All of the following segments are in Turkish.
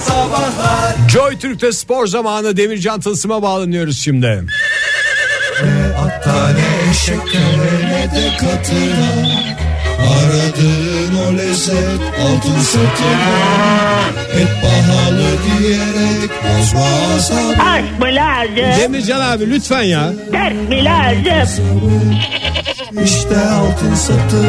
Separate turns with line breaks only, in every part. sabahlar
Joy Türk'te spor zamanı Demircan Tılsım'a bağlanıyoruz şimdi.
Hatta ne şeker ne de katına Aradığın o lezzet altın satına Hep pahalı diyerek bozma asabı
Aşk mı lazım?
Demircan abi lütfen ya.
Dert mi lazım?
İşte altın satı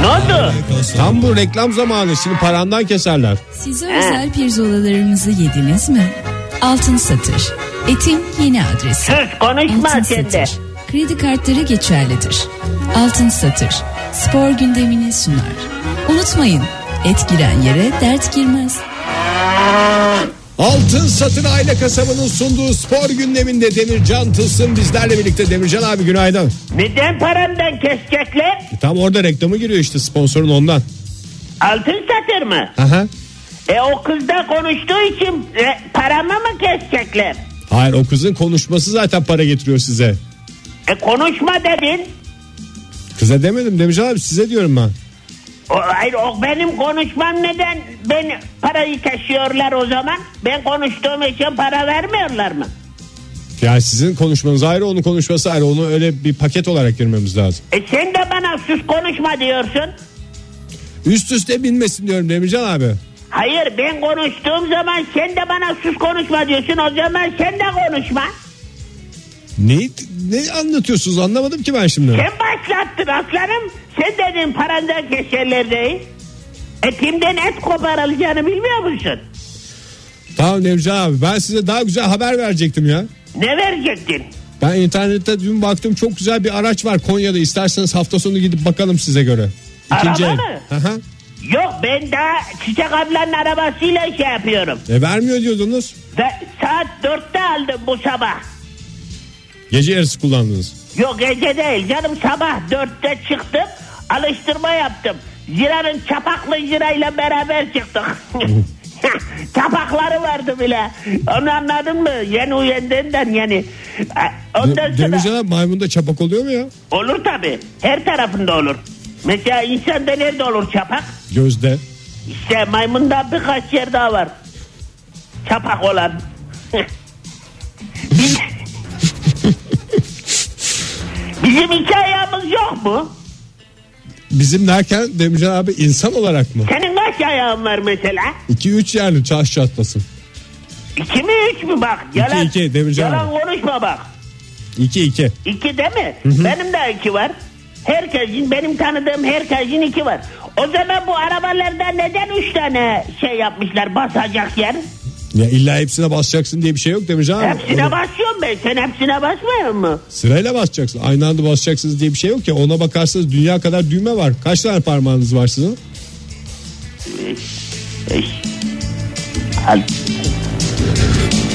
Ne oldu?
Tam bu reklam zamanı şimdi parandan keserler.
Size özel pirzolalarımızı yediniz mi? Altın Satır. Etin yeni adresi.
Söz konuşma
Altın
sen de.
Satır. Kredi kartları geçerlidir. Altın Satır. Spor gündemini sunar. Unutmayın. Et giren yere dert girmez.
Altın Satın Aile Kasabı'nın sunduğu spor gündeminde Demircan Tılsım bizlerle birlikte. Demircan abi günaydın.
Neden paramdan kesecekler?
E, Tam orada reklamı giriyor işte sponsorun ondan.
Altın satır mı?
Aha.
E o kızda konuştuğu için e, paramı mı kesecekler?
Hayır o kızın konuşması zaten para getiriyor size.
E konuşma dedin.
Kıza demedim Demircan abi size diyorum ben.
O, hayır o benim konuşmam neden ben parayı kesiyorlar o zaman? Ben konuştuğum için para vermiyorlar mı?
Yani sizin konuşmanız ayrı onun konuşması ayrı onu öyle bir paket olarak girmemiz lazım.
E sen de bana sus konuşma diyorsun.
Üst üste binmesin diyorum Demircan abi.
Hayır ben konuştuğum zaman sen de bana sus konuşma diyorsun. O zaman sen de konuşma.
Neyi, ne anlatıyorsunuz anlamadım ki ben şimdi.
Sen başlattın aslanım. Sen dedin parandan keserler değil. E kimden et koparılacağını bilmiyor musun?
Tamam Demircan abi ben size daha güzel haber verecektim ya.
Ne verecektin?
Ben internette dün baktım çok güzel bir araç var Konya'da isterseniz hafta sonu gidip bakalım size göre.
Araba
el.
mı?
Aha.
Yok ben daha Çiçek ablanın arabasıyla şey yapıyorum.
E vermiyor diyordunuz.
Ve saat dörtte aldım bu sabah.
Gece yarısı kullandınız.
Yok gece değil canım sabah dörtte çıktım. Alıştırma yaptım. Zira'nın çapaklı zirayla beraber çıktık. Çapakları vardı bile. Onu anladın mı? Yeni uyandığından yani. A-
De-
Ondan sonra
Demircan abi maymunda çapak oluyor mu ya?
olur tabi. Her tarafında olur. Mesela insanda nerede olur çapak?
Gözde.
İşte maymunda birkaç yer daha var. Çapak olan. Biz- Bizim iki ayağımız yok mu?
Bizim derken Demircan abi insan olarak mı?
Senin kaç ayağın var mesela?
2-3 yani çarş çatlasın.
İki mi üç mü bak? Yalan,
İki, iki, Demirci
yalan
abi.
konuşma bak.
2-2.
İki değil mi? Benim de iki var. Herkesin benim tanıdığım herkesin iki var. O zaman bu arabalarda neden üç tane şey yapmışlar basacak yer?
Ya illa hepsine basacaksın diye bir şey yok Demircan abi.
Hepsine
Onu-
basıyorum ben. Sen hepsine basmıyor mu?
Sırayla basacaksın. Aynı anda basacaksınız diye bir şey yok ya. Ona bakarsanız dünya kadar düğme var. Kaç tane parmağınız var sizin?
Al.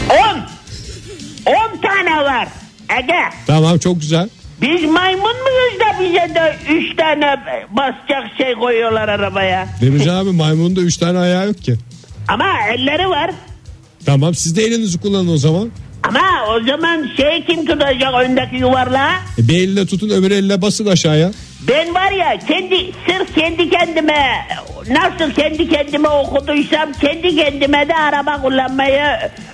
On. On tane var. Ege.
Tamam çok güzel.
Biz maymun muyuz da bize de üç tane basacak şey koyuyorlar arabaya.
Demircan abi maymunun da 3 tane ayağı yok ki.
Ama elleri var.
Tamam siz de elinizi kullanın o zaman.
Ama o zaman şey kim tutacak öndeki yuvarlağı?
E, bir elle tutun öbür elle basın aşağıya.
Ben var ya kendi sırf kendi kendime nasıl kendi kendime okuduysam kendi kendime de araba kullanmayı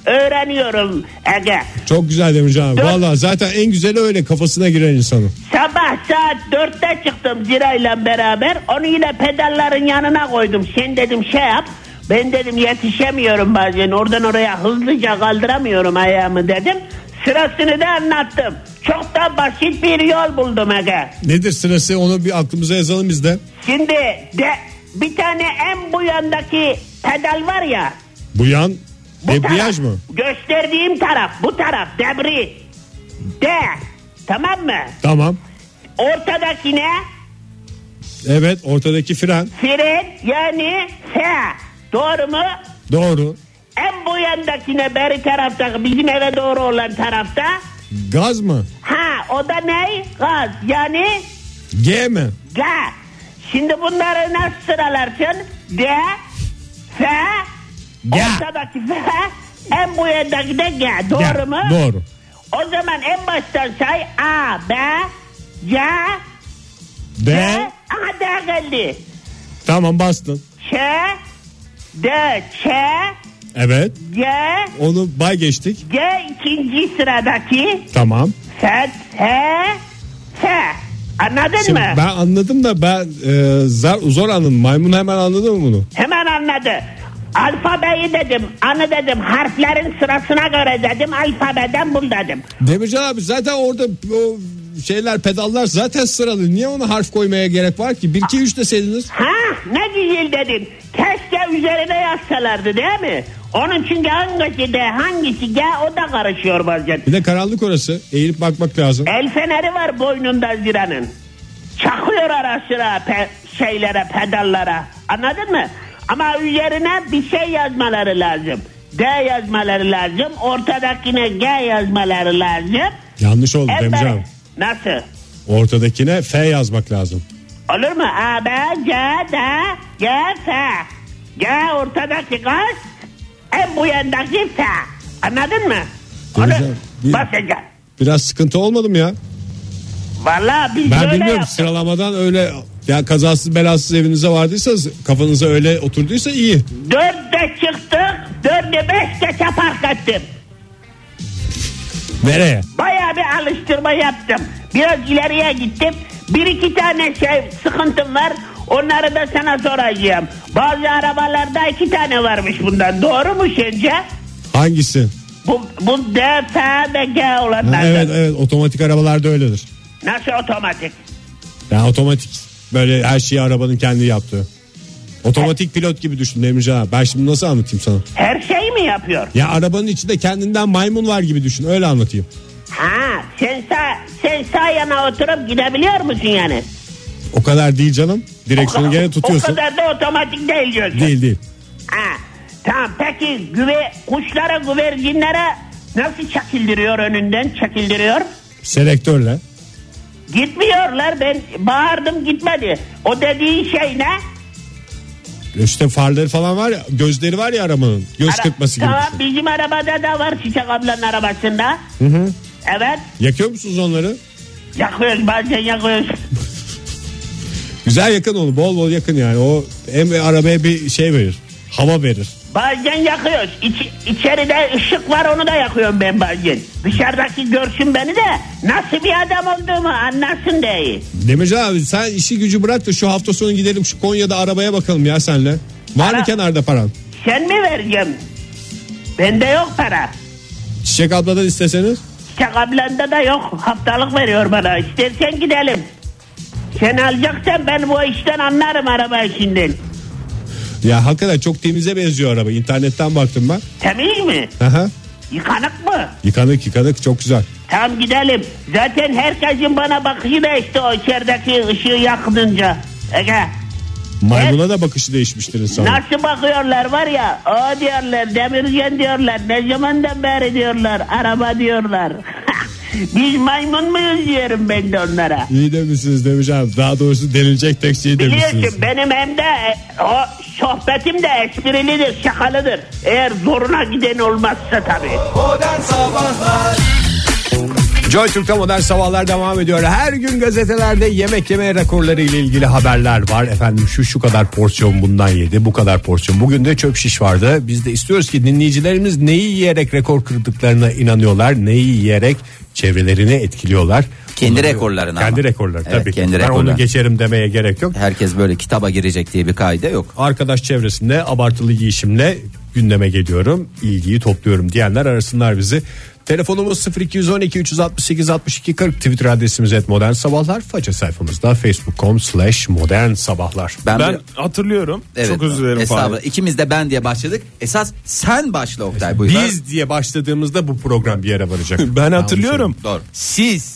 öğreniyorum Ege.
Çok güzel Demircan abi.
Dört-
Valla zaten en güzeli öyle kafasına giren insanın.
Sabah saat dörtte çıktım Zira'yla beraber. Onu yine pedalların yanına koydum. Sen dedim şey yap. Ben dedim yetişemiyorum bazen. Oradan oraya hızlıca kaldıramıyorum ayağımı dedim. Sırasını da anlattım. Çok da basit bir yol buldum Ege.
Nedir sırası onu bir aklımıza yazalım biz de.
Şimdi de bir tane en bu yandaki pedal var ya.
Bu yan
Bu
debriyaj
taraf,
mı?
Gösterdiğim taraf bu taraf debri. De. Tamam mı?
Tamam.
Ortadaki ne?
Evet ortadaki fren.
Fren yani F. Doğru mu?
Doğru.
En bu yandakine beri tarafta bizim eve doğru olan tarafta.
Gaz mı?
Ha o da ne? Gaz yani
G mi?
ga. Şimdi bunları nasıl sıralarsın? D, F,
Ga.
ortadaki F, en bu yandaki de G. Doğru
G.
mu?
Doğru.
O zaman en baştan say A, B, C,
D.
D. Aha D geldi.
Tamam bastın.
Ç, D, Ç,
Evet.
G,
Onu bay geçtik.
G ikinci sıradaki
Tamam.
S, S, S. Anladın
Şimdi
mı?
ben anladım da ben e, zar, zor anladım. Maymun hemen anladı mı bunu?
Hemen anladı. Alfabeyi dedim, anı dedim, harflerin sırasına göre dedim, alfabeden bul dedim.
Demircan abi zaten orada o şeyler pedallar zaten sıralı. Niye ona harf koymaya gerek var ki? 1 2 3 deseydiniz.
Ha ne güzel dedin. Keşke üzerine yazsalardı değil mi? Onun çünkü hangisi de hangisi G o da karışıyor bazen.
Bir de karanlık orası. Eğilip bakmak lazım.
El feneri var boynunda ziranın. Çakıyor ara sıra pe- şeylere pedallara. Anladın mı? Ama üzerine bir şey yazmaları lazım. D yazmaları lazım. Ortadakine G yazmaları lazım.
Yanlış oldu
Elbette.
Demircan. abi.
Nasıl?
Ortadakine F yazmak lazım.
Olur mu? A, B, C, D, G, F. G ortadaki gaz, en bu yandaki F. Anladın mı? Onu
Güzel, bir-
basacağım.
Biraz sıkıntı olmadı mı ya?
Valla biz
Ben
böyle
bilmiyorum
yaptık.
sıralamadan öyle ya kazasız belasız evinize vardıysanız kafanıza öyle oturduysa iyi.
Dörtte çıktık, dörde beşte çapak attım.
Nereye?
Bayağı bir alıştırma yaptım. Biraz ileriye gittim. Bir iki tane şey sıkıntım var. Onları da sana soracağım. Bazı arabalarda iki tane varmış bundan. Doğru mu sence?
Hangisi?
Bu, bu D, F ve G
Ha,
olanlardan.
evet evet otomatik arabalarda öyledir.
Nasıl otomatik?
Ya otomatik böyle her şeyi arabanın kendi yaptığı. Otomatik pilot gibi düşün Demircan abi. Ben şimdi nasıl anlatayım sana?
Her şeyi mi yapıyor?
Ya arabanın içinde kendinden maymun var gibi düşün. Öyle anlatayım.
Ha, sen sağ, sen sağ yana oturup gidebiliyor musun yani?
O kadar değil canım. Direksiyonu
O-
gene
O
tutuyorsun.
kadar da otomatik değil diyorsun.
Değil değil.
Ha, tamam peki güve, kuşlara güvercinlere nasıl çekildiriyor önünden çekildiriyor?
Selektörle.
Gitmiyorlar ben bağırdım gitmedi. O dediğin şey ne?
İşte farları falan var ya. Gözleri var ya arabanın. Göz
Ara-
kırpması gibi. şey.
Tamam
düşün.
bizim arabada da var Çiçek ablanın arabasında. Evet
Yakıyor musunuz onları?
yakıyoruz bazen yakıyoruz.
Güzel yakın onu. Bol bol yakın yani. O hem arabaya bir şey verir. Hava verir.
Bazen yakıyoruz. İç, içeride ışık var onu da yakıyorum ben bazen. Dışarıdaki görsün beni de nasıl bir adam olduğumu anlasın diye.
Demircan abi sen işi gücü bırak da şu hafta sonu gidelim şu Konya'da arabaya bakalım ya senle. Var mı
Ara-
kenarda paran?
Sen mi vereceğim? Bende yok para.
Çiçek abladan isteseniz.
Çiçek ablanda da yok. Haftalık veriyor bana. İstersen gidelim. Sen alacaksan ben bu işten anlarım araba işinden.
Ya hakikaten çok temize benziyor araba. İnternetten baktım ben.
Temiz mi?
Aha.
Yıkanık mı?
Yıkanık yıkanık çok güzel.
Tamam gidelim. Zaten herkesin bana bakışı da işte o içerideki ışığı yakınınca. Ege.
Maymuna da bakışı değişmiştir insan.
Nasıl bakıyorlar var ya o diyorlar demirgen diyorlar ne zamandan beri diyorlar araba diyorlar. Biz maymun muyuz diyorum ben de onlara.
İyi demişsiniz Demircan. abi. Daha doğrusu denilecek tek şey demişsiniz.
Biliyorsun benim hem de e, o sohbetim de esprilidir şakalıdır. Eğer zoruna giden olmazsa tabii.
Modern Sabahlar
Joy Türk'te modern sabahlar devam ediyor. Her gün gazetelerde yemek yeme rekorları ile ilgili haberler var. Efendim şu şu kadar porsiyon bundan yedi, bu kadar porsiyon. Bugün de çöp şiş vardı. Biz de istiyoruz ki dinleyicilerimiz neyi yiyerek rekor kırdıklarına inanıyorlar, neyi yiyerek çevrelerini etkiliyorlar.
Kendi
Onu-
rekorlarına
Kendi
ama.
rekorları
Evet,
tabii. ki.
kendi
ben onu
rekorları.
geçerim demeye gerek yok.
Herkes böyle kitaba girecek diye bir kaide yok.
arkadaş çevresinde abartılı giyişimle gündeme geliyorum. ilgiyi topluyorum diyenler arasınlar bizi. Telefonumuz 0212 368 62 40 Twitter adresimiz et modern sabahlar. Faça sayfamızda facebook.com slash modern sabahlar.
Ben,
Ben
bir-
hatırlıyorum.
evet,
Çok özür dilerim.
Estağfurullah.
Fahir.
İkimiz de ben diye başladık. Esas sen başla Oktay buyur.
Biz diye başladığımızda bu program bir şey yere varacak.
Ben hatırlıyorum.
Doğru. Siz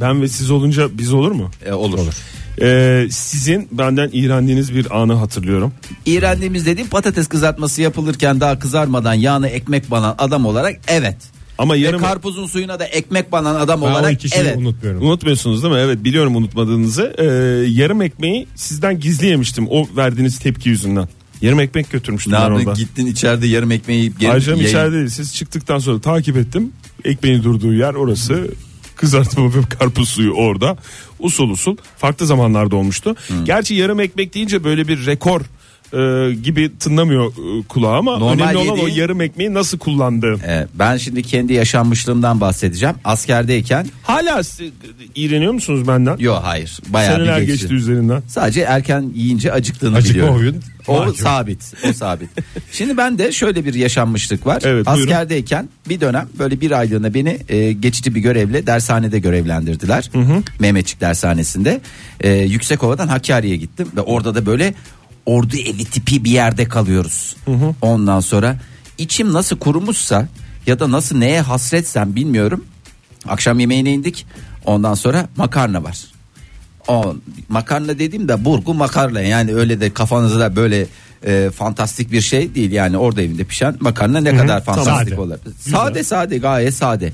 Ben ve siz olunca biz olur mu?
e, olur. olur.
Ee, sizin benden iğrendiğiniz bir anı hatırlıyorum.
İğrendiğimiz dediğim patates kızartması yapılırken daha kızarmadan yağını ekmek banan adam olarak evet.
Ama
Ve
yarım
karpuzun suyuna da ekmek banan adam
Ben o
olarak
iki şeyi
evet.
unutmuyorum.
unutmuyorsunuz değil mi? Evet biliyorum unutmadığınızı. Ee, yarım ekmeği sizden gizli yemiştim o verdiğiniz tepki yüzünden. Yarım ekmek götürmüştüm
Ne
ben
yaptın
orada.
gittin içeride yarım ekmeği yiyip geri
Ayrıca
yayın-
içeride değil. Siz çıktıktan sonra takip ettim. Ekmeğin durduğu yer orası. Kızartma ve karpuz suyu orada.
Hmm.
Usul usul. Farklı zamanlarda olmuştu. Gerçi yarım ekmek deyince böyle bir rekor e, gibi tınlamıyor e, kulağa ama
Normal
önemli olan o
yediğin-
yarım ekmeği nasıl kullandığı.
Ee, ben şimdi kendi yaşanmışlığımdan bahsedeceğim. Askerdeyken
Hala si- iğreniyor musunuz benden?
yok hayır bayağı
Seneler
bir
geçti
geçti.
üzerinden.
Sadece erken yiyince acıktığını
Acıkma
biliyorum.
huyun
O
hakim.
sabit. O sabit. Şimdi ben de şöyle bir yaşanmışlık var.
Evet, buyurun.
Askerdeyken bir dönem böyle bir aylığına beni e, geçici bir görevle dershanede görevlendirdiler. Mehmetçik dershanesinde. E, Yüksekova'dan Hakkari'ye gittim ve orada da böyle ordu evi tipi bir yerde kalıyoruz. Ondan sonra içim nasıl kurumuşsa ya da nasıl neye hasretsem bilmiyorum. Akşam yemeğine indik. Ondan sonra makarna var. O makarna dediğim de burgu makarna yani öyle de kafanızda böyle e, fantastik bir şey değil yani orada evinde pişen makarna ne kadar fantastik
Sade.
olur. Sade sade gayet sade.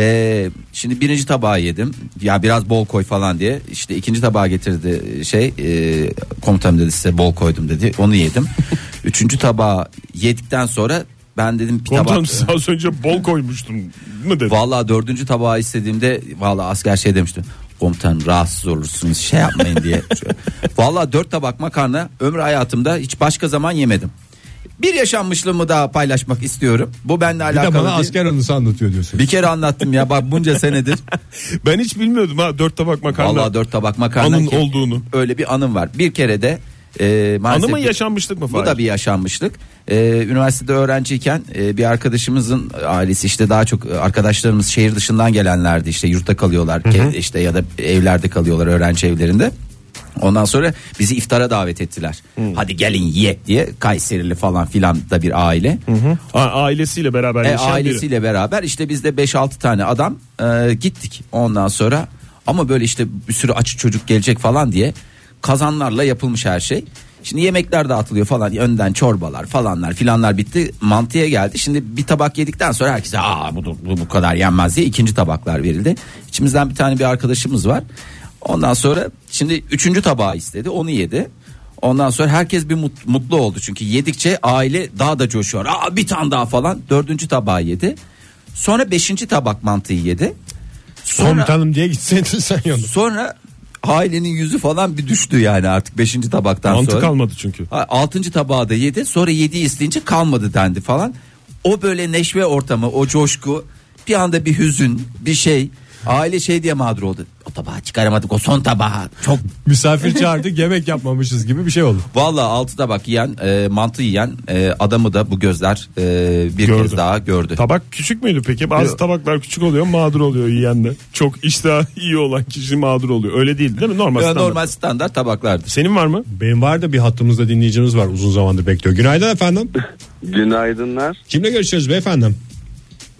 Ee, şimdi birinci tabağı yedim ya biraz bol koy falan diye işte ikinci tabağı getirdi şey e, komutanım dedi size bol koydum dedi onu yedim. Üçüncü tabağı yedikten sonra ben dedim bir
Komutanım
tabak.
size az önce bol koymuştum mı dedi.
Vallahi dördüncü tabağı istediğimde vallahi asker şey demişti. Komutan rahatsız olursunuz şey yapmayın diye. vallahi dört tabak makarna ömrü hayatımda hiç başka zaman yemedim. Bir yaşanmışlığımı daha paylaşmak istiyorum. Bu benimle
Bir de
alakalı
bana
değil.
asker anısı anlatıyor diyorsun.
Bir kere anlattım ya bak bunca senedir.
Ben hiç bilmiyordum ha dört tabak makarna.
Vallahi dört tabak makarna.
Anın
ki-
olduğunu.
Öyle bir anım var. Bir kere de e, maalesef
Anı mı
bir-
yaşanmışlık mı?
bu
Fahir?
da bir yaşanmışlık. Ee, üniversitede öğrenciyken e, bir arkadaşımızın ailesi işte daha çok e, arkadaşlarımız şehir dışından gelenlerdi işte yurtta kalıyorlar ke- işte ya da evlerde kalıyorlar öğrenci evlerinde. Ondan sonra bizi iftara davet ettiler. Hadi gelin ye diye Kayserili falan filan da bir aile.
A- ailesiyle beraber
E,
yaşayan biri.
ailesiyle beraber işte biz de 5-6 tane adam e, gittik ondan sonra ama böyle işte bir sürü aç çocuk gelecek falan diye kazanlarla yapılmış her şey. Şimdi yemekler dağıtılıyor falan önden çorbalar falanlar filanlar bitti mantıya geldi. Şimdi bir tabak yedikten sonra herkese aa bu, bu, bu kadar yenmez diye ikinci tabaklar verildi. İçimizden bir tane bir arkadaşımız var. Ondan sonra şimdi üçüncü tabağı istedi onu yedi. Ondan sonra herkes bir mut- mutlu oldu çünkü yedikçe aile daha da coşuyor. Aa bir tane daha falan. Dördüncü tabağı yedi. Sonra beşinci tabak mantıyı yedi. Sonra,
Komutanım diye gitseydin sen yanına.
sonra ailenin yüzü falan bir düştü yani artık beşinci tabaktan
Mantı
sonra.
kalmadı çünkü.
Ha, Altıncı tabağı da yedi. Sonra yedi isteyince kalmadı dendi falan. O böyle neşve ortamı, o coşku, bir anda bir hüzün, bir şey. Aile şey diye mağdur oldu. O tabağı çıkaramadık, o son tabağı. Çok
Misafir çağırdı yemek yapmamışız gibi bir şey oldu.
Valla altıda bak yiyen e, mantı yiyen e, adamı da bu gözler e, bir
Gördü.
kez daha gördü.
Tabak küçük müydü peki? Bazı
Yok.
tabaklar küçük oluyor mağdur oluyor yiyen de. Çok iştah iyi olan kişi mağdur oluyor. Öyle değil değil mi? Normal,
Ya,
standart.
normal standart tabaklardır.
Senin var mı?
Benim var da bir hattımızda dinleyicimiz var uzun zamandır bekliyor. Günaydın efendim.
Günaydınlar.
Kimle görüşüyoruz beyefendim?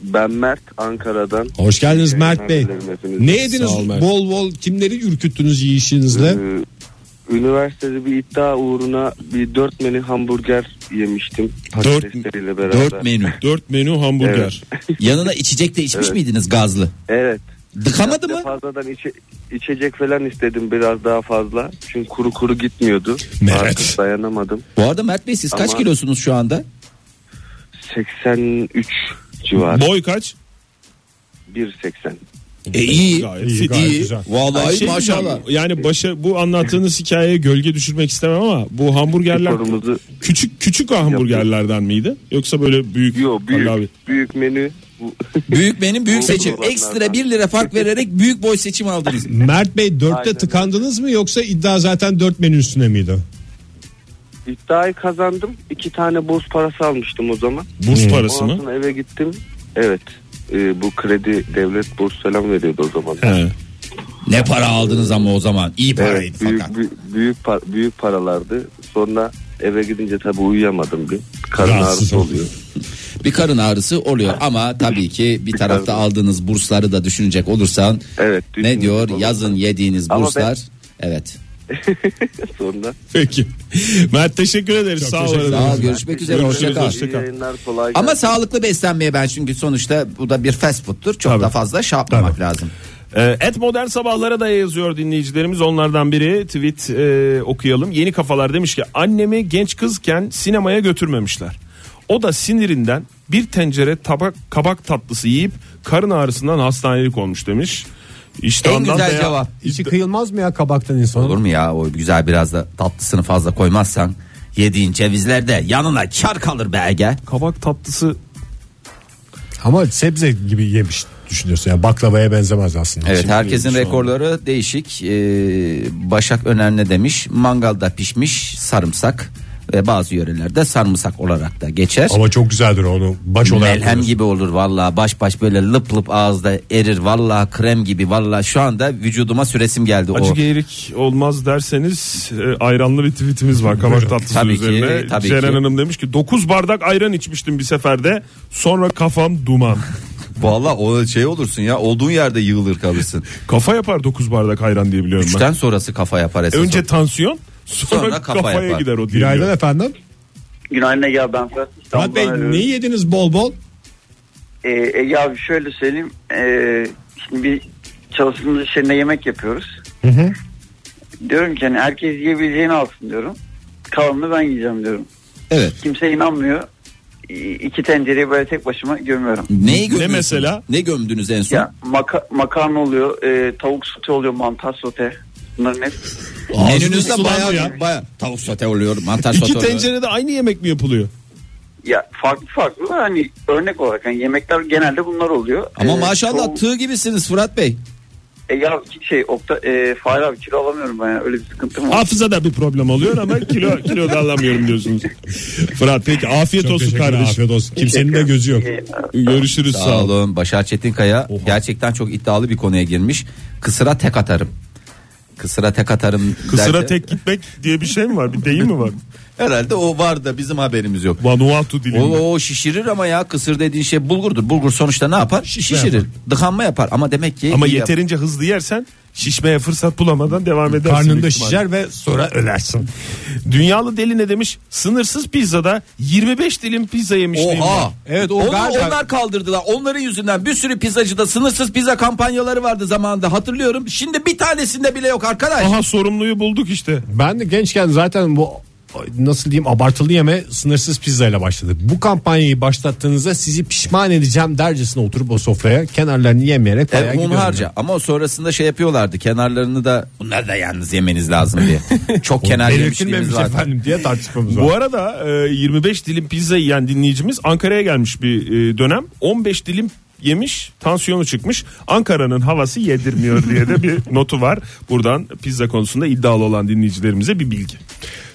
Ben Mert Ankara'dan.
Hoş geldiniz
İyi
Mert Bey.
yayınlar dilerim hepinize.
Ne yediniz bol bol kimleri ürküttünüz yiyişinizle?
Ee, üniversitede bir iddia uğruna bir dört menü hamburger yemiştim. Patatesleriyle beraber.
Dört menü.
Dört menü hamburger.
Yanına içecek de içmiş miydiniz gazlı?
Evet.
Dıkamadı
Bir de
mı?
Fazladan içe- içecek falan istedim biraz daha fazla. Çünkü kuru kuru gitmiyordu.
Mert.
Artık dayanamadım.
Bu arada Mert Bey siz kaç
Ama-
kilosunuz şu anda?
83 civarı.
Boy kaç?
1.80.
E iyi.
Gayet
iyi,
fit.
gayet
iyi.
güzel.
Vallahi
Şey
maşallah.
diyeceğim, Yani başa bu anlattığınız hikayeye gölge düşürmek istemem ama bu hamburgerler
Sorumuzu
küçük küçük hamburgerlerden miydi? Yoksa böyle büyük?
Yo büyük
Allah abi.
büyük menü. Bu-
Büyük menü büyük
Bu-
seçim.
bu-
Ekstra 1 lira fark vererek büyük boy seçim aldınız.
Mert Bey dörtte
Aynen.
tıkandınız mı yoksa iddia zaten dört menü üstüne miydi?
İddiayı kazandım. İki tane buz parası almıştım o zaman.
Burs parası
Ondan
mı?
sonra eve gittim. Evet. Ee, bu kredi devlet burs falan veriyordu o zaman.
He.
ne para aldınız ama o zaman. İyi paraydı
Evet, büyük,
fakat.
büyük, büyük, par- büyük paralardı. Sonra eve gidince tabii uyuyamadım bir. Karın
Rahatsız
ağrısı
oldum.
oluyor.
Bir karın ağrısı oluyor ama tabii ki bir tarafta aldığınız bursları da düşünecek olursan
Evet,
ne
düşünecek
diyor
olursam.
yazın yediğiniz
Ama
burslar evet.
Sonra
Peki. Mert teşekkür ederiz. Sağ
teşekkür
olun.
ederim.
Sağ ol görüşmek üzere
Görüşürüz,
hoşça kal.
hoşça
iyi yayınlar kolay
Ama
gelsin.
sağlıklı beslenmeye ben çünkü sonuçta bu da bir fast food'tur. Çok
Tabii.
da fazla şey yapmamak lazım.
Ee, Et modern sabahlara da yazıyor dinleyicilerimiz. Onlardan biri tweet e, okuyalım. Yeni kafalar demiş ki annemi genç kızken sinemaya götürmemişler. O da sinirinden bir tencere tabak kabak tatlısı yiyip karın ağrısından hastanelik olmuş demiş. İşte
En
ondan
güzel
veya-
cevap.
İçi kıyılmaz mı ya kabaktan insan?
Olur mu ya o güzel biraz da tatlısını fazla koymazsan Yediğin cevizlerde yanına kar kalır be Ege.
Kabak tatlısı
Ama sebze gibi yemiş düşünüyorsun. Yani baklavaya benzemez aslında.
Evet
Şimdi
herkesin
şu an-
rekorları değişik. Ee, Başak Öner'ne demiş mangalda pişmiş sarımsak ve bazı yörelerde sarımsak olarak da geçer.
Ama çok güzeldir onu baş olarak.
Melhem
yiyorsun.
gibi olur vallahi baş baş böyle lıp lıp ağızda erir vallahi krem gibi vallahi şu anda vücuduma süresim geldi
acı
o.
geyrik olmaz derseniz e, ayranlı bir tweetimiz var kabak tatlısı
Tabii ki,
üzerine.
tabii
Ceren
ki.
Hanım demiş ki 9 bardak ayran içmiştim bir seferde sonra kafam duman.
Vallahi o şey olursun ya olduğun yerde yığılır kalırsın.
Kafa yapar 9 bardak ayran diye biliyorum ben.
Üçten sonrası kafa yapar esas.
Önce tansiyon sonra,
Sonra kafa
kafaya
yapar.
gider o diye.
Günaydın
biliyorum.
efendim.
Günaydın Ege abi ben Fırat
Murat Bey
İstanbul'dan arıyorum.
neyi yediniz bol bol?
Ee, Ege abi şöyle söyleyeyim. Ee, şimdi bir çalıştığımız iş yerinde yemek yapıyoruz. Diyorum ki hani herkes yiyebileceğini alsın diyorum. Kalanını ben yiyeceğim diyorum.
Evet.
Kimse inanmıyor. İ- İki tencereyi böyle tek başıma gömüyorum.
Neyi gömdünüz?
Ne mesela?
Ne gömdünüz en son?
Ya maka- makarna oluyor, e, tavuk sote oluyor, mantar sote. Bunların hep
Menünüzde
sulandı
bayağı
ya.
bayağı tavuk sote oluyor, mantar sote
İki
oluyor.
tencerede aynı yemek mi yapılıyor?
ya farklı farklı da hani örnek olarak hani yemekler genelde bunlar oluyor.
Ama
Ee,
maşallah
çoğu-
tığ gibisiniz Fırat Bey.
E, ya şey Okta e, Fahir abi kilo alamıyorum ben ya, öyle bir sıkıntım var.
Hafızada bir problem oluyor ama kilo kilo da alamıyorum diyorsunuz. Fırat peki afiyet
Çok
olsun
teşekkürler,
kardeşim.
Afiyet olsun. Kimsenin de gözü yok.
E,
Görüşürüz sağ,
Sağ
ol.
olun. Başar Çetinkaya gerçekten çok iddialı bir konuya girmiş. Kısıra tek atarım. Kısıra tek atarım.
Kısıra
derken-
tek gitmek diye bir şey mi var? Bir deyim mi var?
Herhalde o var da bizim haberimiz yok.
Vanuatu dilinde.
O, o şişirir ama ya kısır dediğin şey bulgurdur. Bulgur sonuçta ne yapar? Şişirir. Dıkanma yapar ama demek ki
Ama
iyi
yeterince hızlı yersen şişmeye fırsat bulamadan devam edersin.
Karnında
büyük ihtimalle.
şişer ve sonra ölersin.
Dünyalı deli ne demiş? Sınırsız pizzada 25 dilim pizza yemişliğim
yapar.
var.
Oha.
Evet, o
Onu
galiba-
onlar kaldırdılar. Onların yüzünden bir sürü pizzacıda sınırsız pizza kampanyaları vardı zamanında hatırlıyorum. Şimdi bir tanesinde bile yok arkadaş.
Aha sorumluyu bulduk işte.
Ben de gençken zaten bu nasıl diyeyim abartılı yeme sınırsız pizzayla başladı. Bu kampanyayı başlattığınızda sizi pişman edeceğim dercesine oturup o sofraya kenarlarını yemeyerek bayağı
Evet,
gidiyorum.
harca E, ama sonrasında şey yapıyorlardı kenarlarını da bunlar da yalnız yemeniz lazım diye. Çok kenar yemişliğimiz
Belirtilmemiş
vardı.
efendim diye tartışmamız var.
Bu arada e, 25 dilim pizza yiyen dinleyicimiz Ankara'ya gelmiş bir e, dönem. 15 dilim yemiş tansiyonu çıkmış Ankara'nın havası yedirmiyor diye de bir notu var buradan pizza konusunda iddialı olan dinleyicilerimize bir bilgi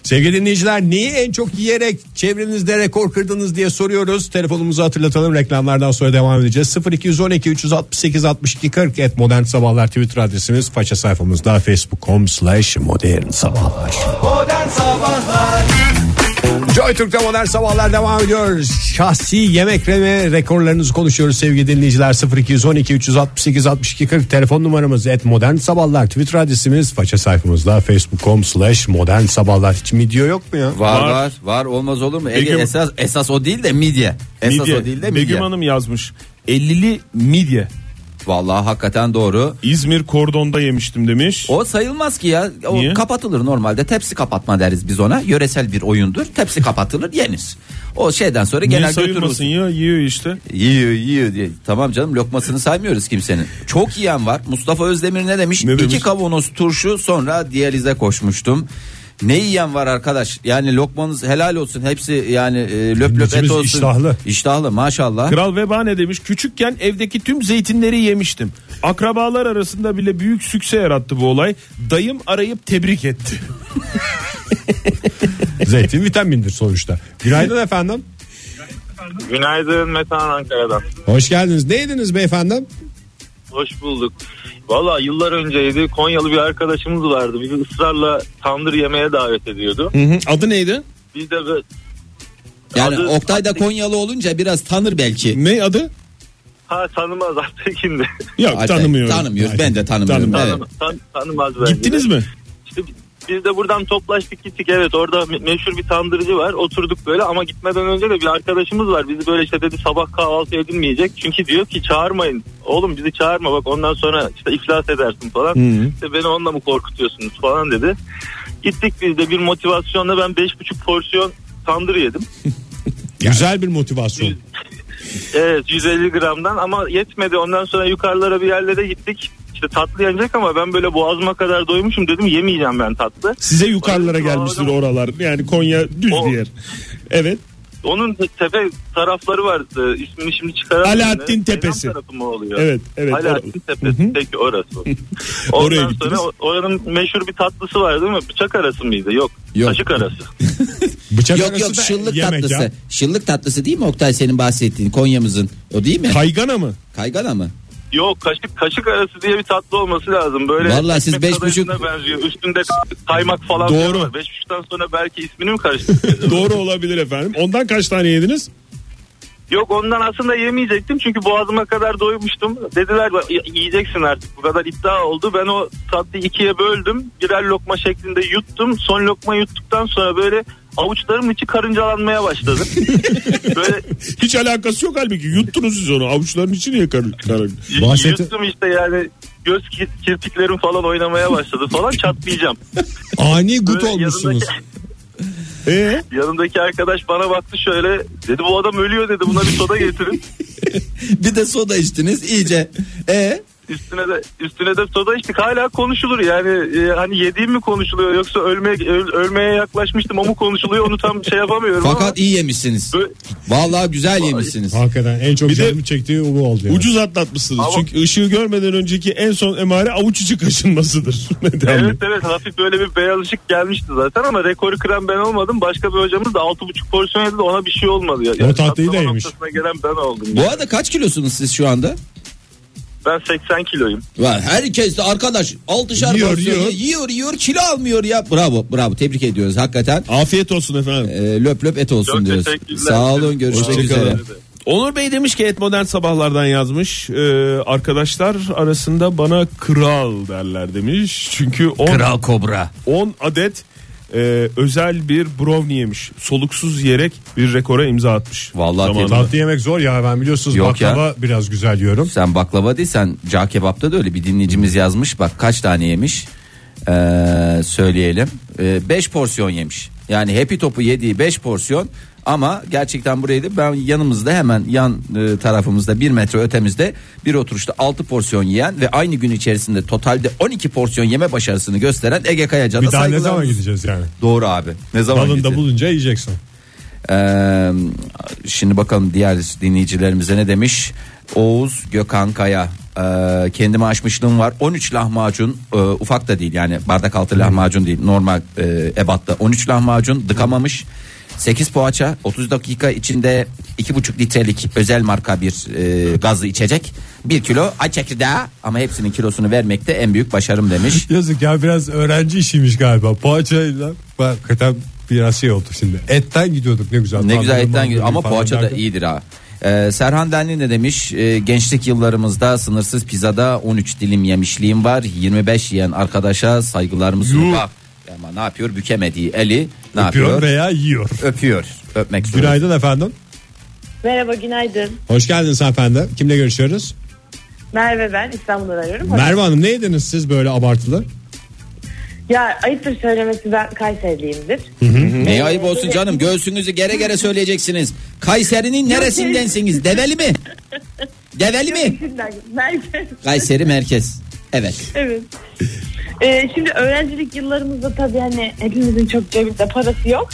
Sevgili dinleyiciler neyi en çok yiyerek çevrenizde rekor kırdınız diye soruyoruz. Telefonumuzu hatırlatalım reklamlardan sonra devam edeceğiz. 0212 368 62 40 et modern sabahlar Twitter adresimiz. Faça sayfamızda facebook.com slash modern sabahlar.
Modern Sabahlar
Joy Türk'te modern sabahlar devam ediyor. Şahsi yemek ve rekorlarınızı konuşuyoruz sevgili dinleyiciler. 0212 368 62 40 telefon numaramız et modern sabahlar. Twitter adresimiz faça sayfamızda facebook.com slash modern sabahlar. Hiç midye yok mu ya?
Var
Var.
var var, olmaz olur mu? Ege,
Begüm-
esas esas o değil de midye. Esas o değil de
Midye
midye.
Begüm Hanım yazmış 50'li midye
Vallahi hakikaten doğru.
İzmir kordonda yemiştim demiş
O sayılmaz ki ya. O
Niye?
kapatılır normalde. Tepsi kapatma deriz biz ona. Yöresel bir oyundur. Tepsi kapatılır, yenir. O şeyden sonra
Niye
genel
sayılmasın
götürürsün.
ya yiyor işte
Yiyor, yiyor diye. Ee, e, Tamam canım lokmasını saymıyoruz kimsenin. Çok yiyen var. Mustafa Özdemir ne demiş?
Ne
İki
demiş?
kavanoz turşu sonra diyalize koşmuştum. Ne yiyen var arkadaş? Yani lokmanız helal olsun. Hepsi yani e, löp löp et
Dinleyicimiz
olsun.
iştahlı.
İştahlı maşallah.
Kral Veba ne demiş? Küçükken evdeki tüm zeytinleri yemiştim. Akrabalar arasında bile büyük sükse yarattı bu olay. Dayım arayıp tebrik etti.
Zeytin vitamindir sonuçta. Günaydın efendim.
Günaydın Metehan Ankara'dan.
Hoş geldiniz. Ne yediniz beyefendim?
Hoş bulduk. Valla yıllar önceydi Konyalı bir arkadaşımız vardı. Bizi ısrarla tandır yemeğe davet ediyordu.
Adı neydi?
Biz de böyle
Yani
Adı-
Oktay da Konyalı olunca biraz tanır belki.
Ne adı?
ha tanımaz Altekin'de.
Yok
Alper,
tanımıyorum.
Tanımıyoruz. Ben de tanımıyorum.
Tanımıyorum.
Evet.
Tanım, tan, tanımaz bence.
Gittiniz
de.
mi?
İşte biz de buradan toplaştık gittik. Evet orada me- meşhur bir tandırıcı var. Oturduk böyle ama gitmeden önce de bir arkadaşımız var. Bizi böyle işte dedi sabah kahvaltı edilmeyecek. Çünkü diyor ki çağırmayın. Oğlum bizi çağırma bak ondan sonra işte iflas edersin falan. İşte beni onunla mı korkutuyorsunuz falan dedi. Gittik biz de bir motivasyonla ben 5,5 porsiyon tandır yedim.
Güzel bir motivasyon.
Evet 150 gramdan ama yetmedi. Ondan sonra yukarılara bir yerlere gittik. İşte işte tatlı yenecek ama ben böyle boğazıma kadar doymuşum dedim yemeyeceğim ben tatlı.
Size yukarılara gelmiştir oralar. Yani Konya düz
O-
bir yer. Evet.
Onun te- tepe tarafları var. Ee, İsmini şimdi çıkaramıyorum.
Alaaddin
Ee, Beyram
Tepesi.
tarafı mı oluyor?
Evet, evet,
Alaaddin Tepesi. Peki orası. Ondan
Oraya
sonra
gittiniz.
o- oranın meşhur bir tatlısı var değil mi? Bıçak arası mıydı? Yok.
Yok.
Kaşık arası.
Bıçak
Yok
arası
yok
da
şıllık
yemek
tatlısı.
ya.
Şıllık tatlısı değil mi Oktay senin bahsettiğin Konya'mızın? O değil mi?
Kaygana mı?
Kaygana mı?
Yok kaşık kaşık arası diye bir tatlı olması lazım. Böyle
Vallahi siz
ekmek
beş buçuk-
kadayıfına benziyor. Üstünde kaymak falan.
Doğru.
var. Beş buçuktan sonra belki ismini mi karıştırdınız?
Doğru olabilir efendim. Ondan kaç tane yediniz?
Yok ondan aslında yemeyecektim çünkü boğazıma kadar doymuştum. Dediler "Y- yiyeceksin artık bu kadar iddia oldu. Ben o tatlıyı ikiye böldüm. Birer lokma şeklinde yuttum. Son lokma yuttuktan sonra böyle avuçlarım içi karıncalanmaya başladı. böyle
Hiç alakası yok halbuki. Yuttunuz siz onu. Avuçların içi niye karın? karın?
y- yuttum işte yani göz kir- kirpiklerim falan oynamaya başladı falan çatlayacağım.
Ani gut
Böyle
olmuşsunuz.
Ee?
Yanımdaki arkadaş bana baktı şöyle dedi bu adam ölüyor dedi buna bir soda getirin.
Bir de soda içtiniz iyice. E
Üstüne de üstüne de soda içtik. Hala konuşulur yani e, hani yediğim mi konuşuluyor yoksa ölmeye öl- ölmeye yaklaşmıştım o mu konuşuluyor onu tam şey yapamıyorum
fakat iyi yemişsiniz.
ama. Ö-
Vallahi güzel yemişsiniz.
Hakikaten en çok
Bir de-
canımı çektiği bu oldu. yani.
Ucuz atlatmışsınız.
Ama-
Çünkü ışığı görmeden önceki en son emare avuç içi kaşınmasıdır. Nedenle.
Evet evet hafif böyle bir beyaz ışık gelmişti zaten ama rekoru kıran ben olmadım. Başka bir hocamız da 6,5 porsiyon yedi de ona bir şey olmadı. Ya. Yani
tatlıyı da
patlama
yemiş.
noktasına gelen ben oldum.
Bu arada kaç kilosunuz siz şu anda?
Ben 80 kiloyum.
Var. Herkes de arkadaş altışar
Yiyor,
yiyor, yiyor.
yiyor.
yiyor yiyor kilo almıyor ya. Bravo bravo tebrik ediyoruz hakikaten.
Afiyet olsun efendim.
E, löp löp et olsun
Çok
diyoruz.
teşekkürler.
Sağ olun görüşmek
Hoşçakalın.
üzere.
Onur Bey demiş ki et modern sabahlardan yazmış. Ee, arkadaşlar arasında bana kral derler demiş. Çünkü 10
Kobra.
10 adet e, özel bir brownie yemiş. Soluksuz yiyerek bir rekora imza atmış.
Vallahi
Zamanında.
tebrik-
Tatlı yemek zor ya ben biliyorsunuz
Yok
baklava biraz güzel yiyorum.
Sen baklava değil sen cağ kebapta da öyle bir dinleyicimiz yazmış. Bak kaç tane yemiş Ee, söyleyelim. 5 porsiyon yemiş. Yani Happy Top'u yediği 5 porsiyon ama gerçekten buraydı. Ben yanımızda hemen yan e, tarafımızda bir metre ötemizde bir oturuşta 6 porsiyon yiyen ve aynı gün içerisinde totalde 12 porsiyon yeme başarısını gösteren Ege Kayacan'a
Bir daha ne zaman
saygılarımız-
gideceğiz yani?
Doğru abi. Ne zaman
Dalında
gideceğiz?
bulunca yiyeceksin.
Ee, şimdi bakalım diğer dinleyicilerimize ne demiş. Oğuz Gökhan Kaya ee, kendime açmışlığım var 13 lahmacun ee, ufak da değil yani bardak altı lahmacun değil normal ee, ebatta 13 lahmacun dıkamamış 8 poğaça 30 dakika içinde 2,5 litrelik özel marka bir ee, gazlı içecek 1 kilo ay çekirdeği ama hepsinin kilosunu vermekte en büyük başarım demiş
Yazık ya biraz öğrenci işiymiş galiba. Poğaçayla bak hakikaten biraz şey oldu şimdi. Etten gidiyorduk ne güzel.
Ne
Tam
güzel
böyle
etten geliyor ama
falan
poğaça da
derken.
iyidir ha. Ee, Serhan Denli ne demiş? Ee, gençlik yıllarımızda sınırsız pizzada 13 dilim yemişliğim var. 25 yiyen arkadaşa saygılarımı sunar. Ama ne yapıyor? Bükemediği eli ne
Öpüyor
yapıyor?
veya yiyor.
Öpüyor. Öpmek zorunda.
Günaydın efendim.
Merhaba günaydın.
Hoş geldiniz hanımefendi. Kimle görüşüyoruz?
Merve ben İstanbul'dan arıyorum.
Merve Hanım ne yediniz siz böyle abartılı?
Ya ayıptır söylemesi ben Kayseriliyimdir.
Neye ayıp olsun canım? Göğsünüzü gere gere söyleyeceksiniz. Kayseri'nin neresindensiniz? Develi mi? Develi mi?
Şimdiden merkez.
Kayseri merkez. Evet.
Evet. Ee, şimdi öğrencilik yıllarımızda tabii hani hepimizin çok cebimizde parası yok.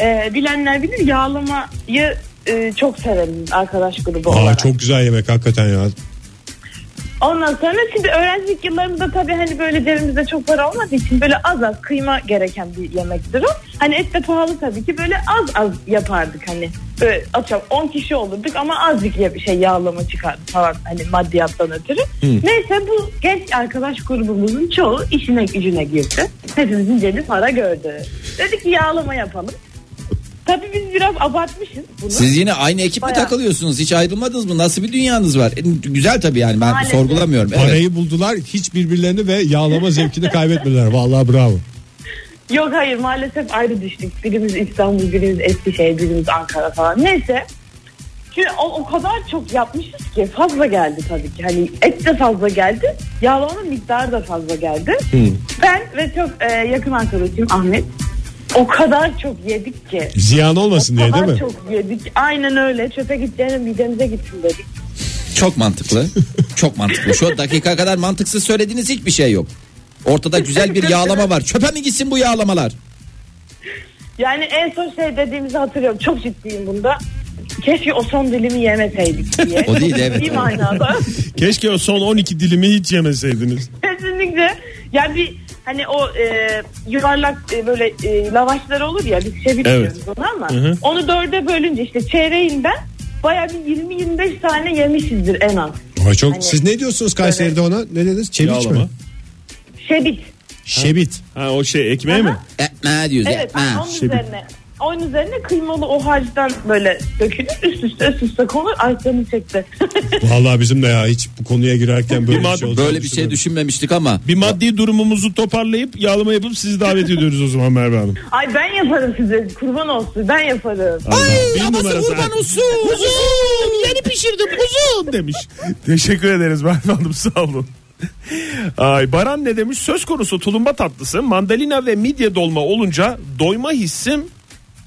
Ee, bilenler bilir yağlamayı e, çok severim arkadaş grubu
Aa,
olarak.
çok güzel yemek hakikaten ya.
Ondan sonra şimdi öğrencilik yıllarımızda tabii hani böyle cebimizde çok para olmadığı için böyle az az kıyma gereken bir yemektir o. Hani et de pahalı tabii ki böyle az az yapardık hani. Böyle atıyorum 10 kişi olurduk ama azıcık ya- şey yağlama çıkardı falan hani maddiyattan ötürü. Neyse bu genç arkadaş grubumuzun çoğu işine gücüne girdi. Hepimizin cebi para gördü. Dedik ki yağlama yapalım. Tabii biz biraz abartmışız bunu.
Siz yine aynı ekiple
Bayağı.
takılıyorsunuz. Hiç ayrılmadınız mı? Nasıl bir dünyanız var? E, güzel tabii yani ben
Maalesef.
sorgulamıyorum. Evet.
Parayı buldular hiç birbirlerini ve yağlama zevkini kaybetmediler. Vallahi bravo.
Yok hayır maalesef ayrı düştük. Birimiz İstanbul, birimiz Eskişehir, birimiz Ankara falan. Neyse. Şimdi o, o kadar çok yapmışız ki fazla geldi tabii ki. Hani et de fazla geldi. Yağlamanın miktarı da fazla geldi. Ben ve çok e, yakın arkadaşım Ahmet. O kadar çok yedik ki.
Ziyan olmasın
o
diye
kadar
değil mi?
çok yedik. Aynen öyle. Çöpe gideceğine midemize gitsin dedik.
Çok mantıklı. Çok mantıklı. Şu dakika kadar mantıksız söylediğiniz hiçbir şey yok. Ortada güzel bir yağlama var. Çöpe mi gitsin bu yağlamalar?
Yani en son şey dediğimizi hatırlıyorum. Çok ciddiyim bunda. Keşke o son dilimi yemeseydik diye.
O değil, evet,
İyi
evet.
manada.
Keşke o son 12 dilimi hiç yemeseydiniz.
Kesinlikle. Yani bir hani o e, yuvarlak e, böyle e, lavaşlar olur ya biz şey bilmiyoruz
Evet.
onu ama
Hı hı.
onu dörde bölünce işte çeyreğinden baya bir 20-25 tane yemişizdir en az.
Ama çok
Hani-
siz ne diyorsunuz Kayseri'de ona? Ne dediniz? Çebiç mi?
Yağlama.
Şebit.
Şebit.
Ha o şey ekmeği mi?
Ekmeğe
Evet onun üzerine. Onun üzerine kıymalı o harçtan böyle dökülür üst üste üst üste konur ay canım çekti.
Vallahi bizim de ya hiç bu konuya girerken böyle
Bir
bir
mad-
şey olacağını
Böyle bir şey düşünmemiştik ama
Bir maddi durumumuzu toparlayıp yağlama yapıp sizi davet ediyoruz o zaman Merve Hanım.
ay ben yaparım size kurban olsun ben yaparım.
Bir numara sen.
olsun. Yeni pişirdim uzun.
demiş. Teşekkür ederiz Merve Hanım sağ olun.
Ay Baran ne demiş? Söz konusu tulumba tatlısı, mandalina ve midye dolma olunca doyma hissim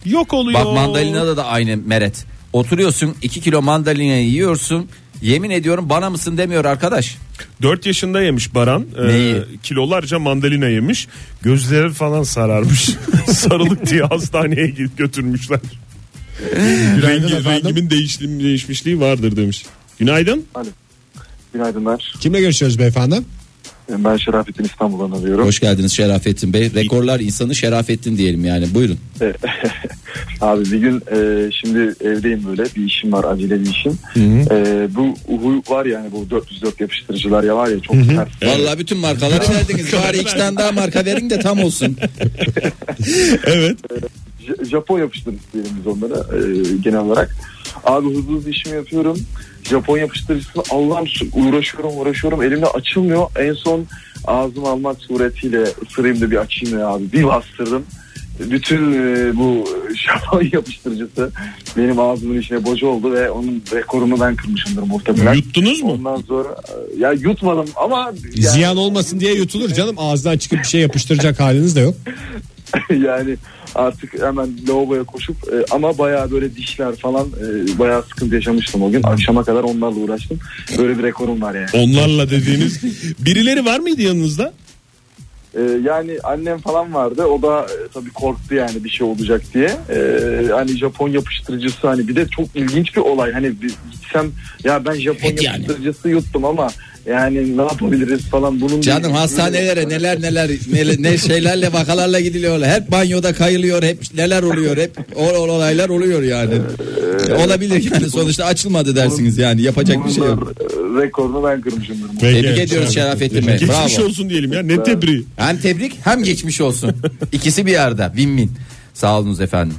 yok oluyor.
Bak mandalinada da aynı meret. Oturuyorsun 2 kilo mandalina yiyorsun. Yemin ediyorum bana mısın demiyor arkadaş.
4 yaşında yemiş Baran. Ee,
Neyi?
kilolarca mandalina yemiş. Gözleri falan sararmış. Sarılık diye hastaneye git- götürmüşler.
Rengi, rengimin değişim, değişmişliği vardır demiş. Günaydın.
Günaydınlar.
Kimle görüşüyoruz beyefendi?
Ben Şerafettin İstanbul'dan arıyorum.
Hoş geldiniz Şerafettin Bey. Rekorlar insanı Şerafettin diyelim yani. Buyurun.
E, Abi bir gün e, şimdi evdeyim böyle bir işim var acele bir işim. E, bu huy var yani bu 404 yapıştırıcılar ya var ya çok sert.
Vallahi bütün markaları verdiniz. Bari iki tane daha marka verin de tam olsun.
Evet.
J- Japon yapıştırıcısı diyelim biz onlara e, genel olarak. Abi hızlı hızlı işimi yapıyorum. Japon yapıştırıcısını Allah'ım su- uğraşıyorum uğraşıyorum elimle açılmıyor. En son ağzım almak suretiyle ısırayım da bir açayım ya abi. Bir bastırdım. Bütün e, bu Japon yapıştırıcısı benim ağzımın içine boca oldu ve onun rekorunu ben kırmışımdır muhtemelen.
Yuttunuz mu?
Ondan sonra e, ya yutmadım ama yani-
Ziyan olmasın diye yutulur canım. Ağızdan çıkıp bir şey yapıştıracak haliniz de yok.
yani artık hemen lavaboya koşup e, ama bayağı böyle dişler falan e, bayağı sıkıntı yaşamıştım o gün. Akşama kadar onlarla uğraştım. Böyle bir rekorum var yani.
Onlarla dediğiniz. Birileri var mıydı yanınızda?
E, yani annem falan vardı. O da e, tabii korktu yani bir şey olacak diye. E, hani Japon yapıştırıcısı hani bir de çok ilginç bir olay. Hani bir- gitsem ya ben Japon
Evet yani.
yapıştırıcısı yuttum ama yani ne yapabiliriz falan bunun
Canım hastanelere neler neler neler- ne şeylerle vakalarla gidiliyor. Hep banyoda kayılıyor, hep neler oluyor, hep o o- olaylar oluyor yani. Olabilir yani sonuçta açılmadı dersiniz yani yapacak bir şey yok.
Bunun, e, rekorunu ben kırmışımdır.
Tebrik ediyoruz Şerafettin Bey.
Geçmiş
Bravo.
olsun diyelim ya ne tebriği.
Hem tebrik hem geçmiş olsun. İkisi bir arada. Win win. Sağ olunuz efendim.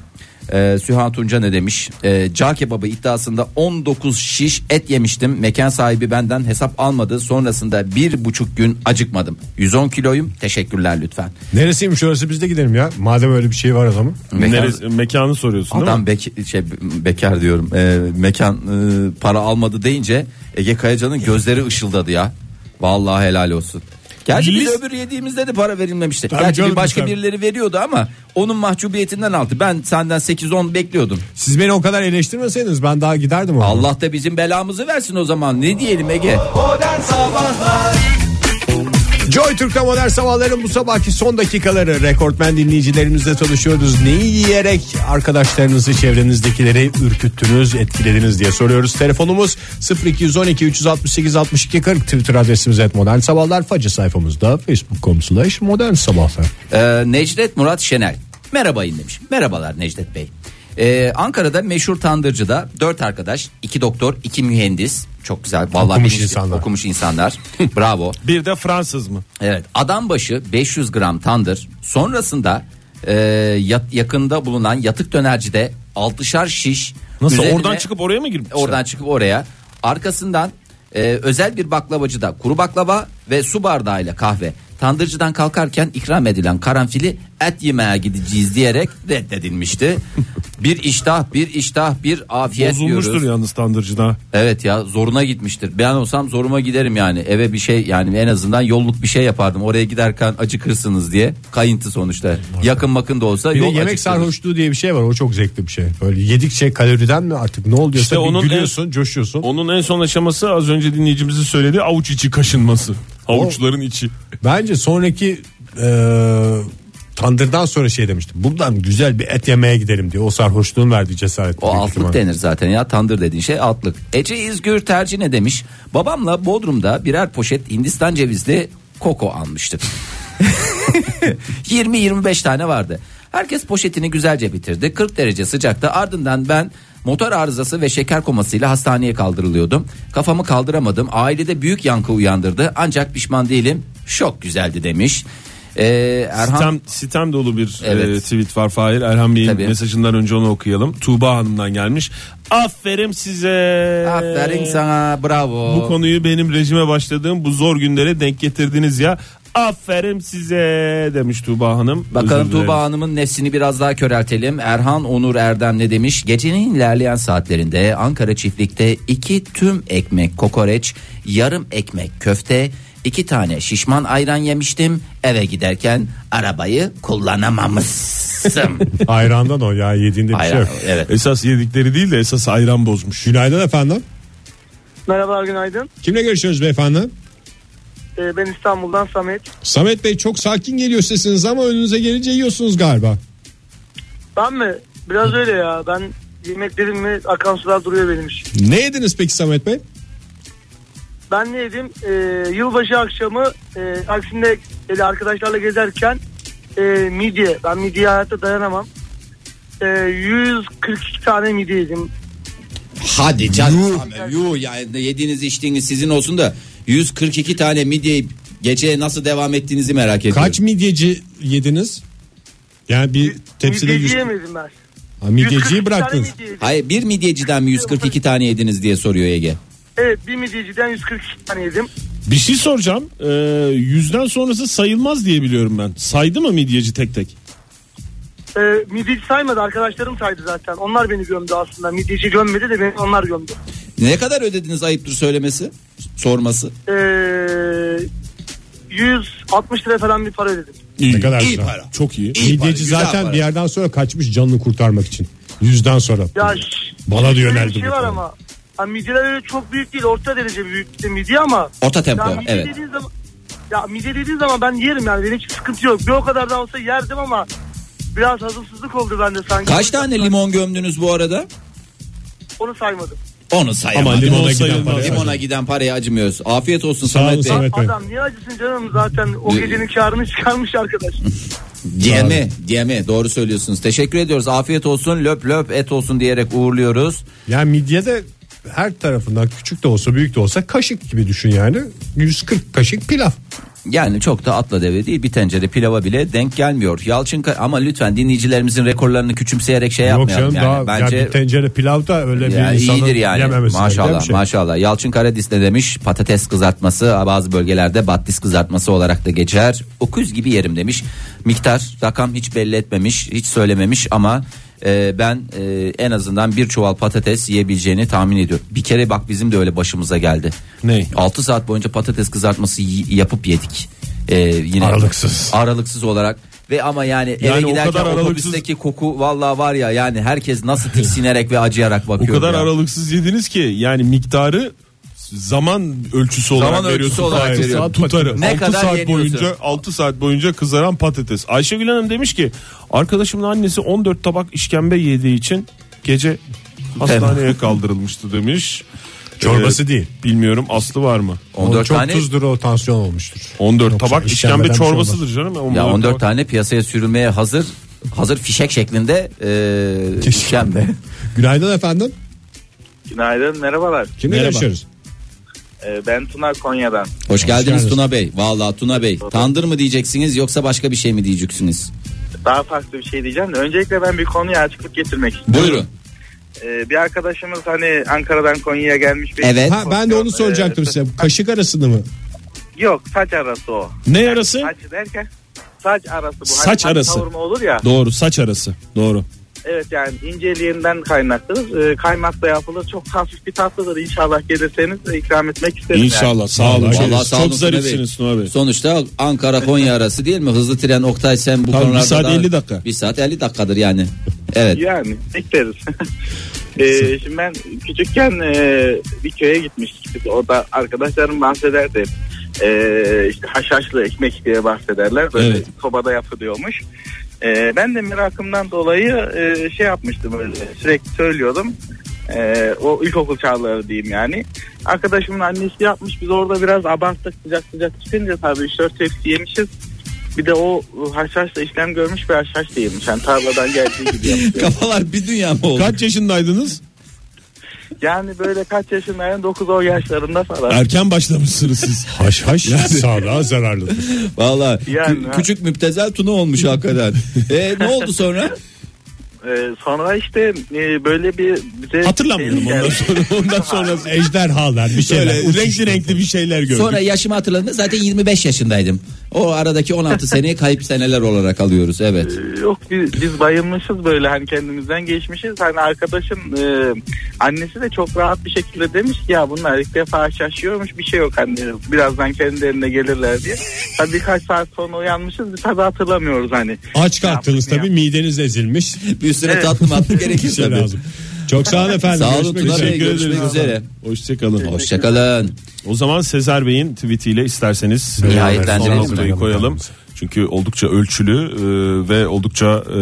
Ee, Süha Tunca ne demiş? Ee, cağ kebabı iddiasında 19 şiş et yemiştim. Mekan sahibi benden hesap almadı. Sonrasında bir buçuk gün acıkmadım. 110 kiloyum. Teşekkürler lütfen.
Neresiymiş orası biz de gidelim ya. Madem öyle bir şey var adamın.
Mekan-
Neresi- mekanı soruyorsun değil mi?
Adam bek- şey, bekar diyorum. Ee, mekan e, para almadı deyince Ege Kayacan'ın gözleri ışıldadı ya. Vallahi helal olsun. Gerçi biz
Lis-
öbür yediğimizde de para verilmemişti.
Tabii
Gerçi bir
canım,
başka
tabii.
birileri veriyordu ama onun mahcubiyetinden altı. Ben senden 8-10 bekliyordum.
Siz beni o kadar eleştirmeseydiniz ben daha giderdim ona.
Allah da bizim belamızı versin o zaman. Ne diyelim Ege?
Modern Sabahlar
Joy Türk'te modern sabahların bu sabahki son dakikaları rekortmen dinleyicilerimizle tanışıyoruz. Neyi yiyerek arkadaşlarınızı çevrenizdekileri ürküttünüz etkilediniz diye soruyoruz. Telefonumuz 0212 368 62 40 Twitter adresimiz et modern sabahlar. Facı sayfamızda facebook.com slash modern sabahlar.
Ee, Necdet Murat Şenel. Merhabayın demiş. Merhabalar Necdet Bey. Ee, Ankara'da meşhur tandırcıda dört arkadaş, iki doktor, iki mühendis. Çok güzel. Vallahi
Okumuş
bilinçli-
insanlar.
Okumuş insanlar. Bravo.
Bir de Fransız mı?
Evet adam başı 500 gram tandır sonrasında e, yat- yakında bulunan yatık dönercide altışar şiş.
Nasıl
üzerine-
oradan çıkıp oraya mı girmişler?
Oradan çıkıp oraya arkasından e, özel bir baklavacıda kuru baklava ve su bardağıyla kahve. Tandırcıdan kalkarken ikram edilen karanfili et yemeye gideceğiz diyerek reddedilmişti. bir iştah, bir iştah, bir afiyet
Bozulmuştur
diyoruz.
yalnız tandırcıda.
Evet ya zoruna gitmiştir. Ben olsam zoruma giderim yani. Eve bir şey yani en azından yolluk bir şey yapardım. Oraya giderken acıkırsınız diye. Kayıntı sonuçta. Yakın makın da olsa
Bir de
yol
yemek
acıktırır.
sarhoşluğu diye bir şey var. O çok zevkli bir şey. Böyle yedikçe kaloriden mi artık ne oluyorsa
İşte
bir
onun
gülüyorsun, coşuyorsun.
Onun en son aşaması az önce dinleyicimizin söylediği avuç içi kaşınması. Avuçların içi.
Bence sonraki e, tandırdan sonra şey demiştim. Buradan güzel bir et yemeye gidelim diye. O sarhoşluğun verdiği cesaret.
O altlık denir zaten ya tandır dediğin şey altlık. Ece İzgür tercih ne demiş? Babamla Bodrum'da birer poşet Hindistan cevizli koko almıştık. 20-25 tane vardı. Herkes poşetini güzelce bitirdi. 40 derece sıcakta ardından ben motor arızası ve şeker komasıyla hastaneye kaldırılıyordum. Kafamı kaldıramadım. Ailede büyük yankı uyandırdı. Ancak pişman değilim. Şok güzeldi demiş. Ee, Erhan...
Sitem, sitem dolu bir
Evet.
e, tweet var Fahir. Erhan Bey'in
Tabii.
mesajından önce onu okuyalım. Tuğba Hanım'dan gelmiş. Aferin size.
Aferin sana bravo.
Bu konuyu benim rejime başladığım bu zor günlere denk getirdiniz ya. Aferin size demiş Tuğba Hanım.
Bakalım
Özür dileriz.
Tuğba Hanım'ın nefsini biraz daha köreltelim. Erhan Onur Erdem ne demiş? Gecenin ilerleyen saatlerinde Ankara çiftlikte iki tüm ekmek kokoreç, yarım ekmek köfte, iki tane şişman ayran yemiştim. Eve giderken arabayı kullanamamışım.
Ayrandan o ya yediğinde bir şey
Ayran,
yok.
evet.
Esas yedikleri değil de esas ayran bozmuş.
Günaydın efendim.
Merhaba günaydın.
Kimle görüşüyoruz beyefendi?
Ee, ben İstanbul'dan Samet.
Samet Bey çok sakin geliyor sesiniz ama önünüze gelince yiyorsunuz galiba.
Ben mi? Biraz öyle ya. Ben yemek dedim mi akan sular duruyor benim için.
Ne yediniz peki Samet Bey?
Ben ne yedim? Ee, yılbaşı akşamı e, Taksim'de böyle arkadaşlarla gezerken e, midye. Ben midye hayatta dayanamam. E, 142 tane midye yedim.
Hadi canım Samet, yuh ya yediğiniz içtiğiniz sizin olsun da 142 tane midye geceye nasıl devam ettiğinizi merak ediyorum.
Kaç midyeci yediniz? Yani bir tepside
Midyeci
yüz...
yemedim ben.
Ha, midyeciyi
142 tane
bıraktınız.
midye yedim.
Hayır bir midyeciden mi 142 tane yediniz diye soruyor Ege.
Evet bir midyeciden 142 tane yedim.
Bir şey soracağım. Ee, yüzden sonrası sayılmaz diye biliyorum ben. Saydı mı midyeci tek tek?
E, midyeci saymadı arkadaşlarım saydı zaten. Onlar beni gömdü aslında. Midyeci gömmedi de beni onlar gömdü.
Ne kadar ödediniz ayıptır söylemesi? Sorması.
Ee, 160 lira falan bir para ödedim.
Ne kadar
İyi
güzel.
para.
Çok iyi.
İyi para,
Midyeci
güzel
zaten
para.
bir yerden sonra kaçmış canını kurtarmak için. Yüzden sonra.
Ya ş-
Bana da
şöyle
yöneldi
Bir şey
bu
var
konu.
ama. Ha, midyeler öyle çok büyük değil. Orta derece büyüklükte midye ama.
Orta tempo,
ya midye
evet.
dediğin Zaman, ya midye dediğin zaman ben yerim yani. Benim hiç sıkıntı yok. Bir o kadar da olsa yerdim ama biraz hazımsızlık oldu bende sanki.
Kaç tane limon gömdünüz bu arada?
Onu saymadım.
Onu sayamadım.
Ama limon
Limona giden,
sayılmaz.
paraya- limona giden paraya acımıyoruz. Afiyet olsun
Sağ olun
Samet Bey. Ee,
Samet Bey.
Adam niye acısın canım zaten o gecenin karını çıkarmış arkadaş.
Diyeme, diyeme. Doğru söylüyorsunuz. Teşekkür ediyoruz. Afiyet olsun. Löp löp et olsun diyerek uğurluyoruz.
Yani midye de her tarafından küçük de olsa büyük de olsa kaşık gibi düşün yani. 140 kaşık pilav.
Yani çok da atla deve değil. Bir tencere pilava bile denk gelmiyor. Yalçın Ka- ama lütfen dinleyicilerimizin rekorlarını küçümseyerek şey
Yok
yapmayalım.
canım
yani.
daha
Bence
yani bir tencere pilav da öyle
Yani
bir insanın
iyidir yani.
yememesi. gereken
Maşallah
bir şey.
maşallah. Yalçın Karadis ne demiş? Patates kızartması bazı bölgelerde battis kızartması olarak da geçer. Okuz gibi yerim demiş. Miktar rakam hiç belli etmemiş, hiç söylememiş ama e, ben e, en azından bir çuval patates yiyebileceğini tahmin ediyorum. Bir kere bak bizim de öyle başımıza geldi.
Ney?
6 saat boyunca patates kızartması y- yapıp yedik. E, yine
Aralıksız.
Aralıksız olarak ve ama yani,
Yani
eve
o
giderken
kadar aralıksız-
otobüsteki koku vallahi var ya yani herkes nasıl tiksinerek ve acıyarak
O
bakıyor.
kadar
ya.
aralıksız yediniz ki yani miktarı zaman ölçüsü olarak
Zaman ölçüsü
veriyorsun.
olarak
Hayır,
veriyorum.
saat Tutarı.
Ne
6
kadar
saat
yeniyorsun?
boyunca 6 saat boyunca kızaran patates. Ayşegül Hanım demiş ki arkadaşımın annesi 14 tabak işkembe yediği için gece hastaneye kaldırılmıştı demiş. Ee,
Çorbası değil.
Bilmiyorum aslı var mı?
14
çok
tane
tuzdur o tansiyon olmuştur.
14
Yoksa
tabak
işkembeden
işkembe
bir şey olmaz.
çorbasıdır canım.
ya 14
tabak.
tane piyasaya sürülmeye hazır hazır fişek şeklinde e, işkembe.
Günaydın efendim.
Günaydın merhabalar.
Kimle
Merhaba.
görüşüyoruz?
Ee, ben Tuna Konya'dan.
Hoş geldiniz
geldiniz.
Tuna Bey. Vallahi Tuna Bey. Tandır mı diyeceksiniz yoksa başka bir şey mi diyeceksiniz?
Daha farklı bir şey diyeceğim de öncelikle ben bir konuya açıklık getirmek istiyorum.
Buyurun.
Ee, bir arkadaşımız hani Ankara'dan Konya'ya gelmiş. Bir
Evet.
Ha, ben de onu soracaktım size. Kaşık arasını mı?
Yok saç arası o.
Ne yarası?
Saç derken saç arası bu. Hani
Saç arası.
Kavurma olur ya.
Doğru saç arası. Doğru.
Evet yani inceliğinden kaynaklıdır. Ee, kaymakla yapılır. Çok hafif bir tatlıdır. İnşallah gelirseniz de ikram etmek isterim. yani.
Vallahi sağ olun Tuna Bey. Sonuçta Ankara Konya arası değil mi? Hızlı tren Oktay sen bu
Tabii bir
konularda
saat
daha-
50 dakika.
Bir saat 50 dakikadır yani. Evet.
Yani bekleriz. Ee, şimdi ben küçükken e, bir köye gitmiştik. Biz Orada arkadaşlarım bahsederdi. hep. Ee, işte haşhaşlı ekmek diye bahsederler. Böyle
Evet.
sobada yapılıyormuş. Ee, ben de merakımdan dolayı e, şey yapmıştım öyle sürekli söylüyordum. Ee, o ilkokul çağları diyeyim yani. Arkadaşımın annesi yapmış biz orada biraz abarttık sıcak sıcak çıkınca tabii 3-4 tepsi yemişiz. Bir de o haşhaşla işlem görmüş bir haşhaş değilmiş. Yani tarladan geldiği gibi yapmış.
Kafalar bir dünya mı oldu?
Kaç yaşındaydınız?
Yani böyle kaç yaşındayım 9-10 yaşlarında falan.
Erken başlamışsınız siz. haş haş sağlığa zararlı.
Valla
Yani ha.
küçük müptezel Tuna olmuş hakikaten. e, ne oldu sonra?
Ee, sonra işte e, böyle bir bize şey
Hatırlamıyorum ondan sonra. Ondan sonrası ejderhalar bir
şeyler,
Böyle renkli renkli bir şeyler gördük.
Sonra yaşımı hatırladığımda zaten 25 yaşındaydım. O aradaki 16 seneyi kayıp seneler olarak alıyoruz. Evet.
Yok biz, biz bayılmışız böyle hani kendimizden geçmişiz. Hani arkadaşın e, annesi de çok rahat bir şekilde demiş ki ya bunlar ilk defa aşaşıyormuş bir şey yok anne. Birazdan kendilerine gelirler diye. Tabii birkaç saat sonra uyanmışız biz tabii hatırlamıyoruz hani.
Aç kalktınız tabii mideniz ezilmiş. şey
Bir üstüne tatlı matlı gerekir tabii.
Çok sağ olun efendim.
Sağ olun
Görüşmek
Tuna Bey.
üzere.
Görüşmek
Teşekkür ederiz
üzere.
efendim. Hoşçakalın.
Hoşçakalın.
O zaman Sezer Bey'in tweetiyle isterseniz e,
Nihayetlendirelim
son noktayı
mi?
koyalım. Çünkü oldukça ölçülü e, ve oldukça e,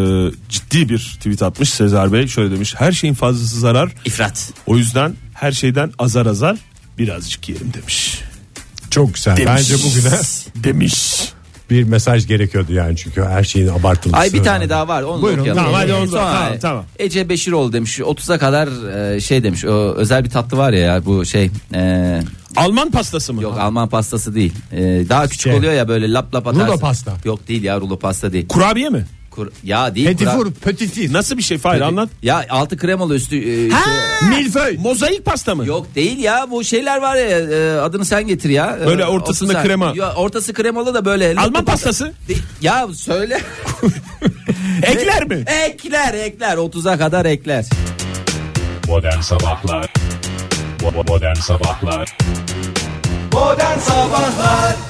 ciddi bir tweet atmış Sezer Bey. Şöyle demiş her şeyin fazlası zarar.
İfrat.
O yüzden her şeyden azar azar birazcık yerim demiş.
Çok güzel.
Demiş.
Bence bugüne
demiş
bir mesaj gerekiyordu yani çünkü her şeyin abartılması.
Ay bir tane daha var. Onu da
Buyurun.
okuyalım. Ee,
Tamam, hadi onu da-
Sonra
tamam, tamam.
Ece Beşiroğlu demiş. 30'a kadar e, şey demiş. O özel bir tatlı var ya, ya bu şey.
Alman pastası mı?
Yok Alman pastası değil. E, daha küçük
Şey.
oluyor ya böyle lap lap atarsın.
Rulo pasta.
Yok değil ya rulo pasta değil.
Kurabiye mi?
Kur- ya değil. kura-
Nasıl bir şey Fahir
Peki.
anlat.
Ya altı kremalı üstü. e, şey-
Milföy. Mozaik pasta mı?
Yok değil ya bu şeyler var ya e, adını sen getir ya. E,
Böyle ortasında
otuz sen-
krema.
Ya, ortası kremalı da böyle.
Alman pastası.
De- Ya söyle.
ekler mi?
Ekler ekler 30'a kadar ekler.
Modern Sabahlar Bo- Modern Sabahlar
Modern Sabahlar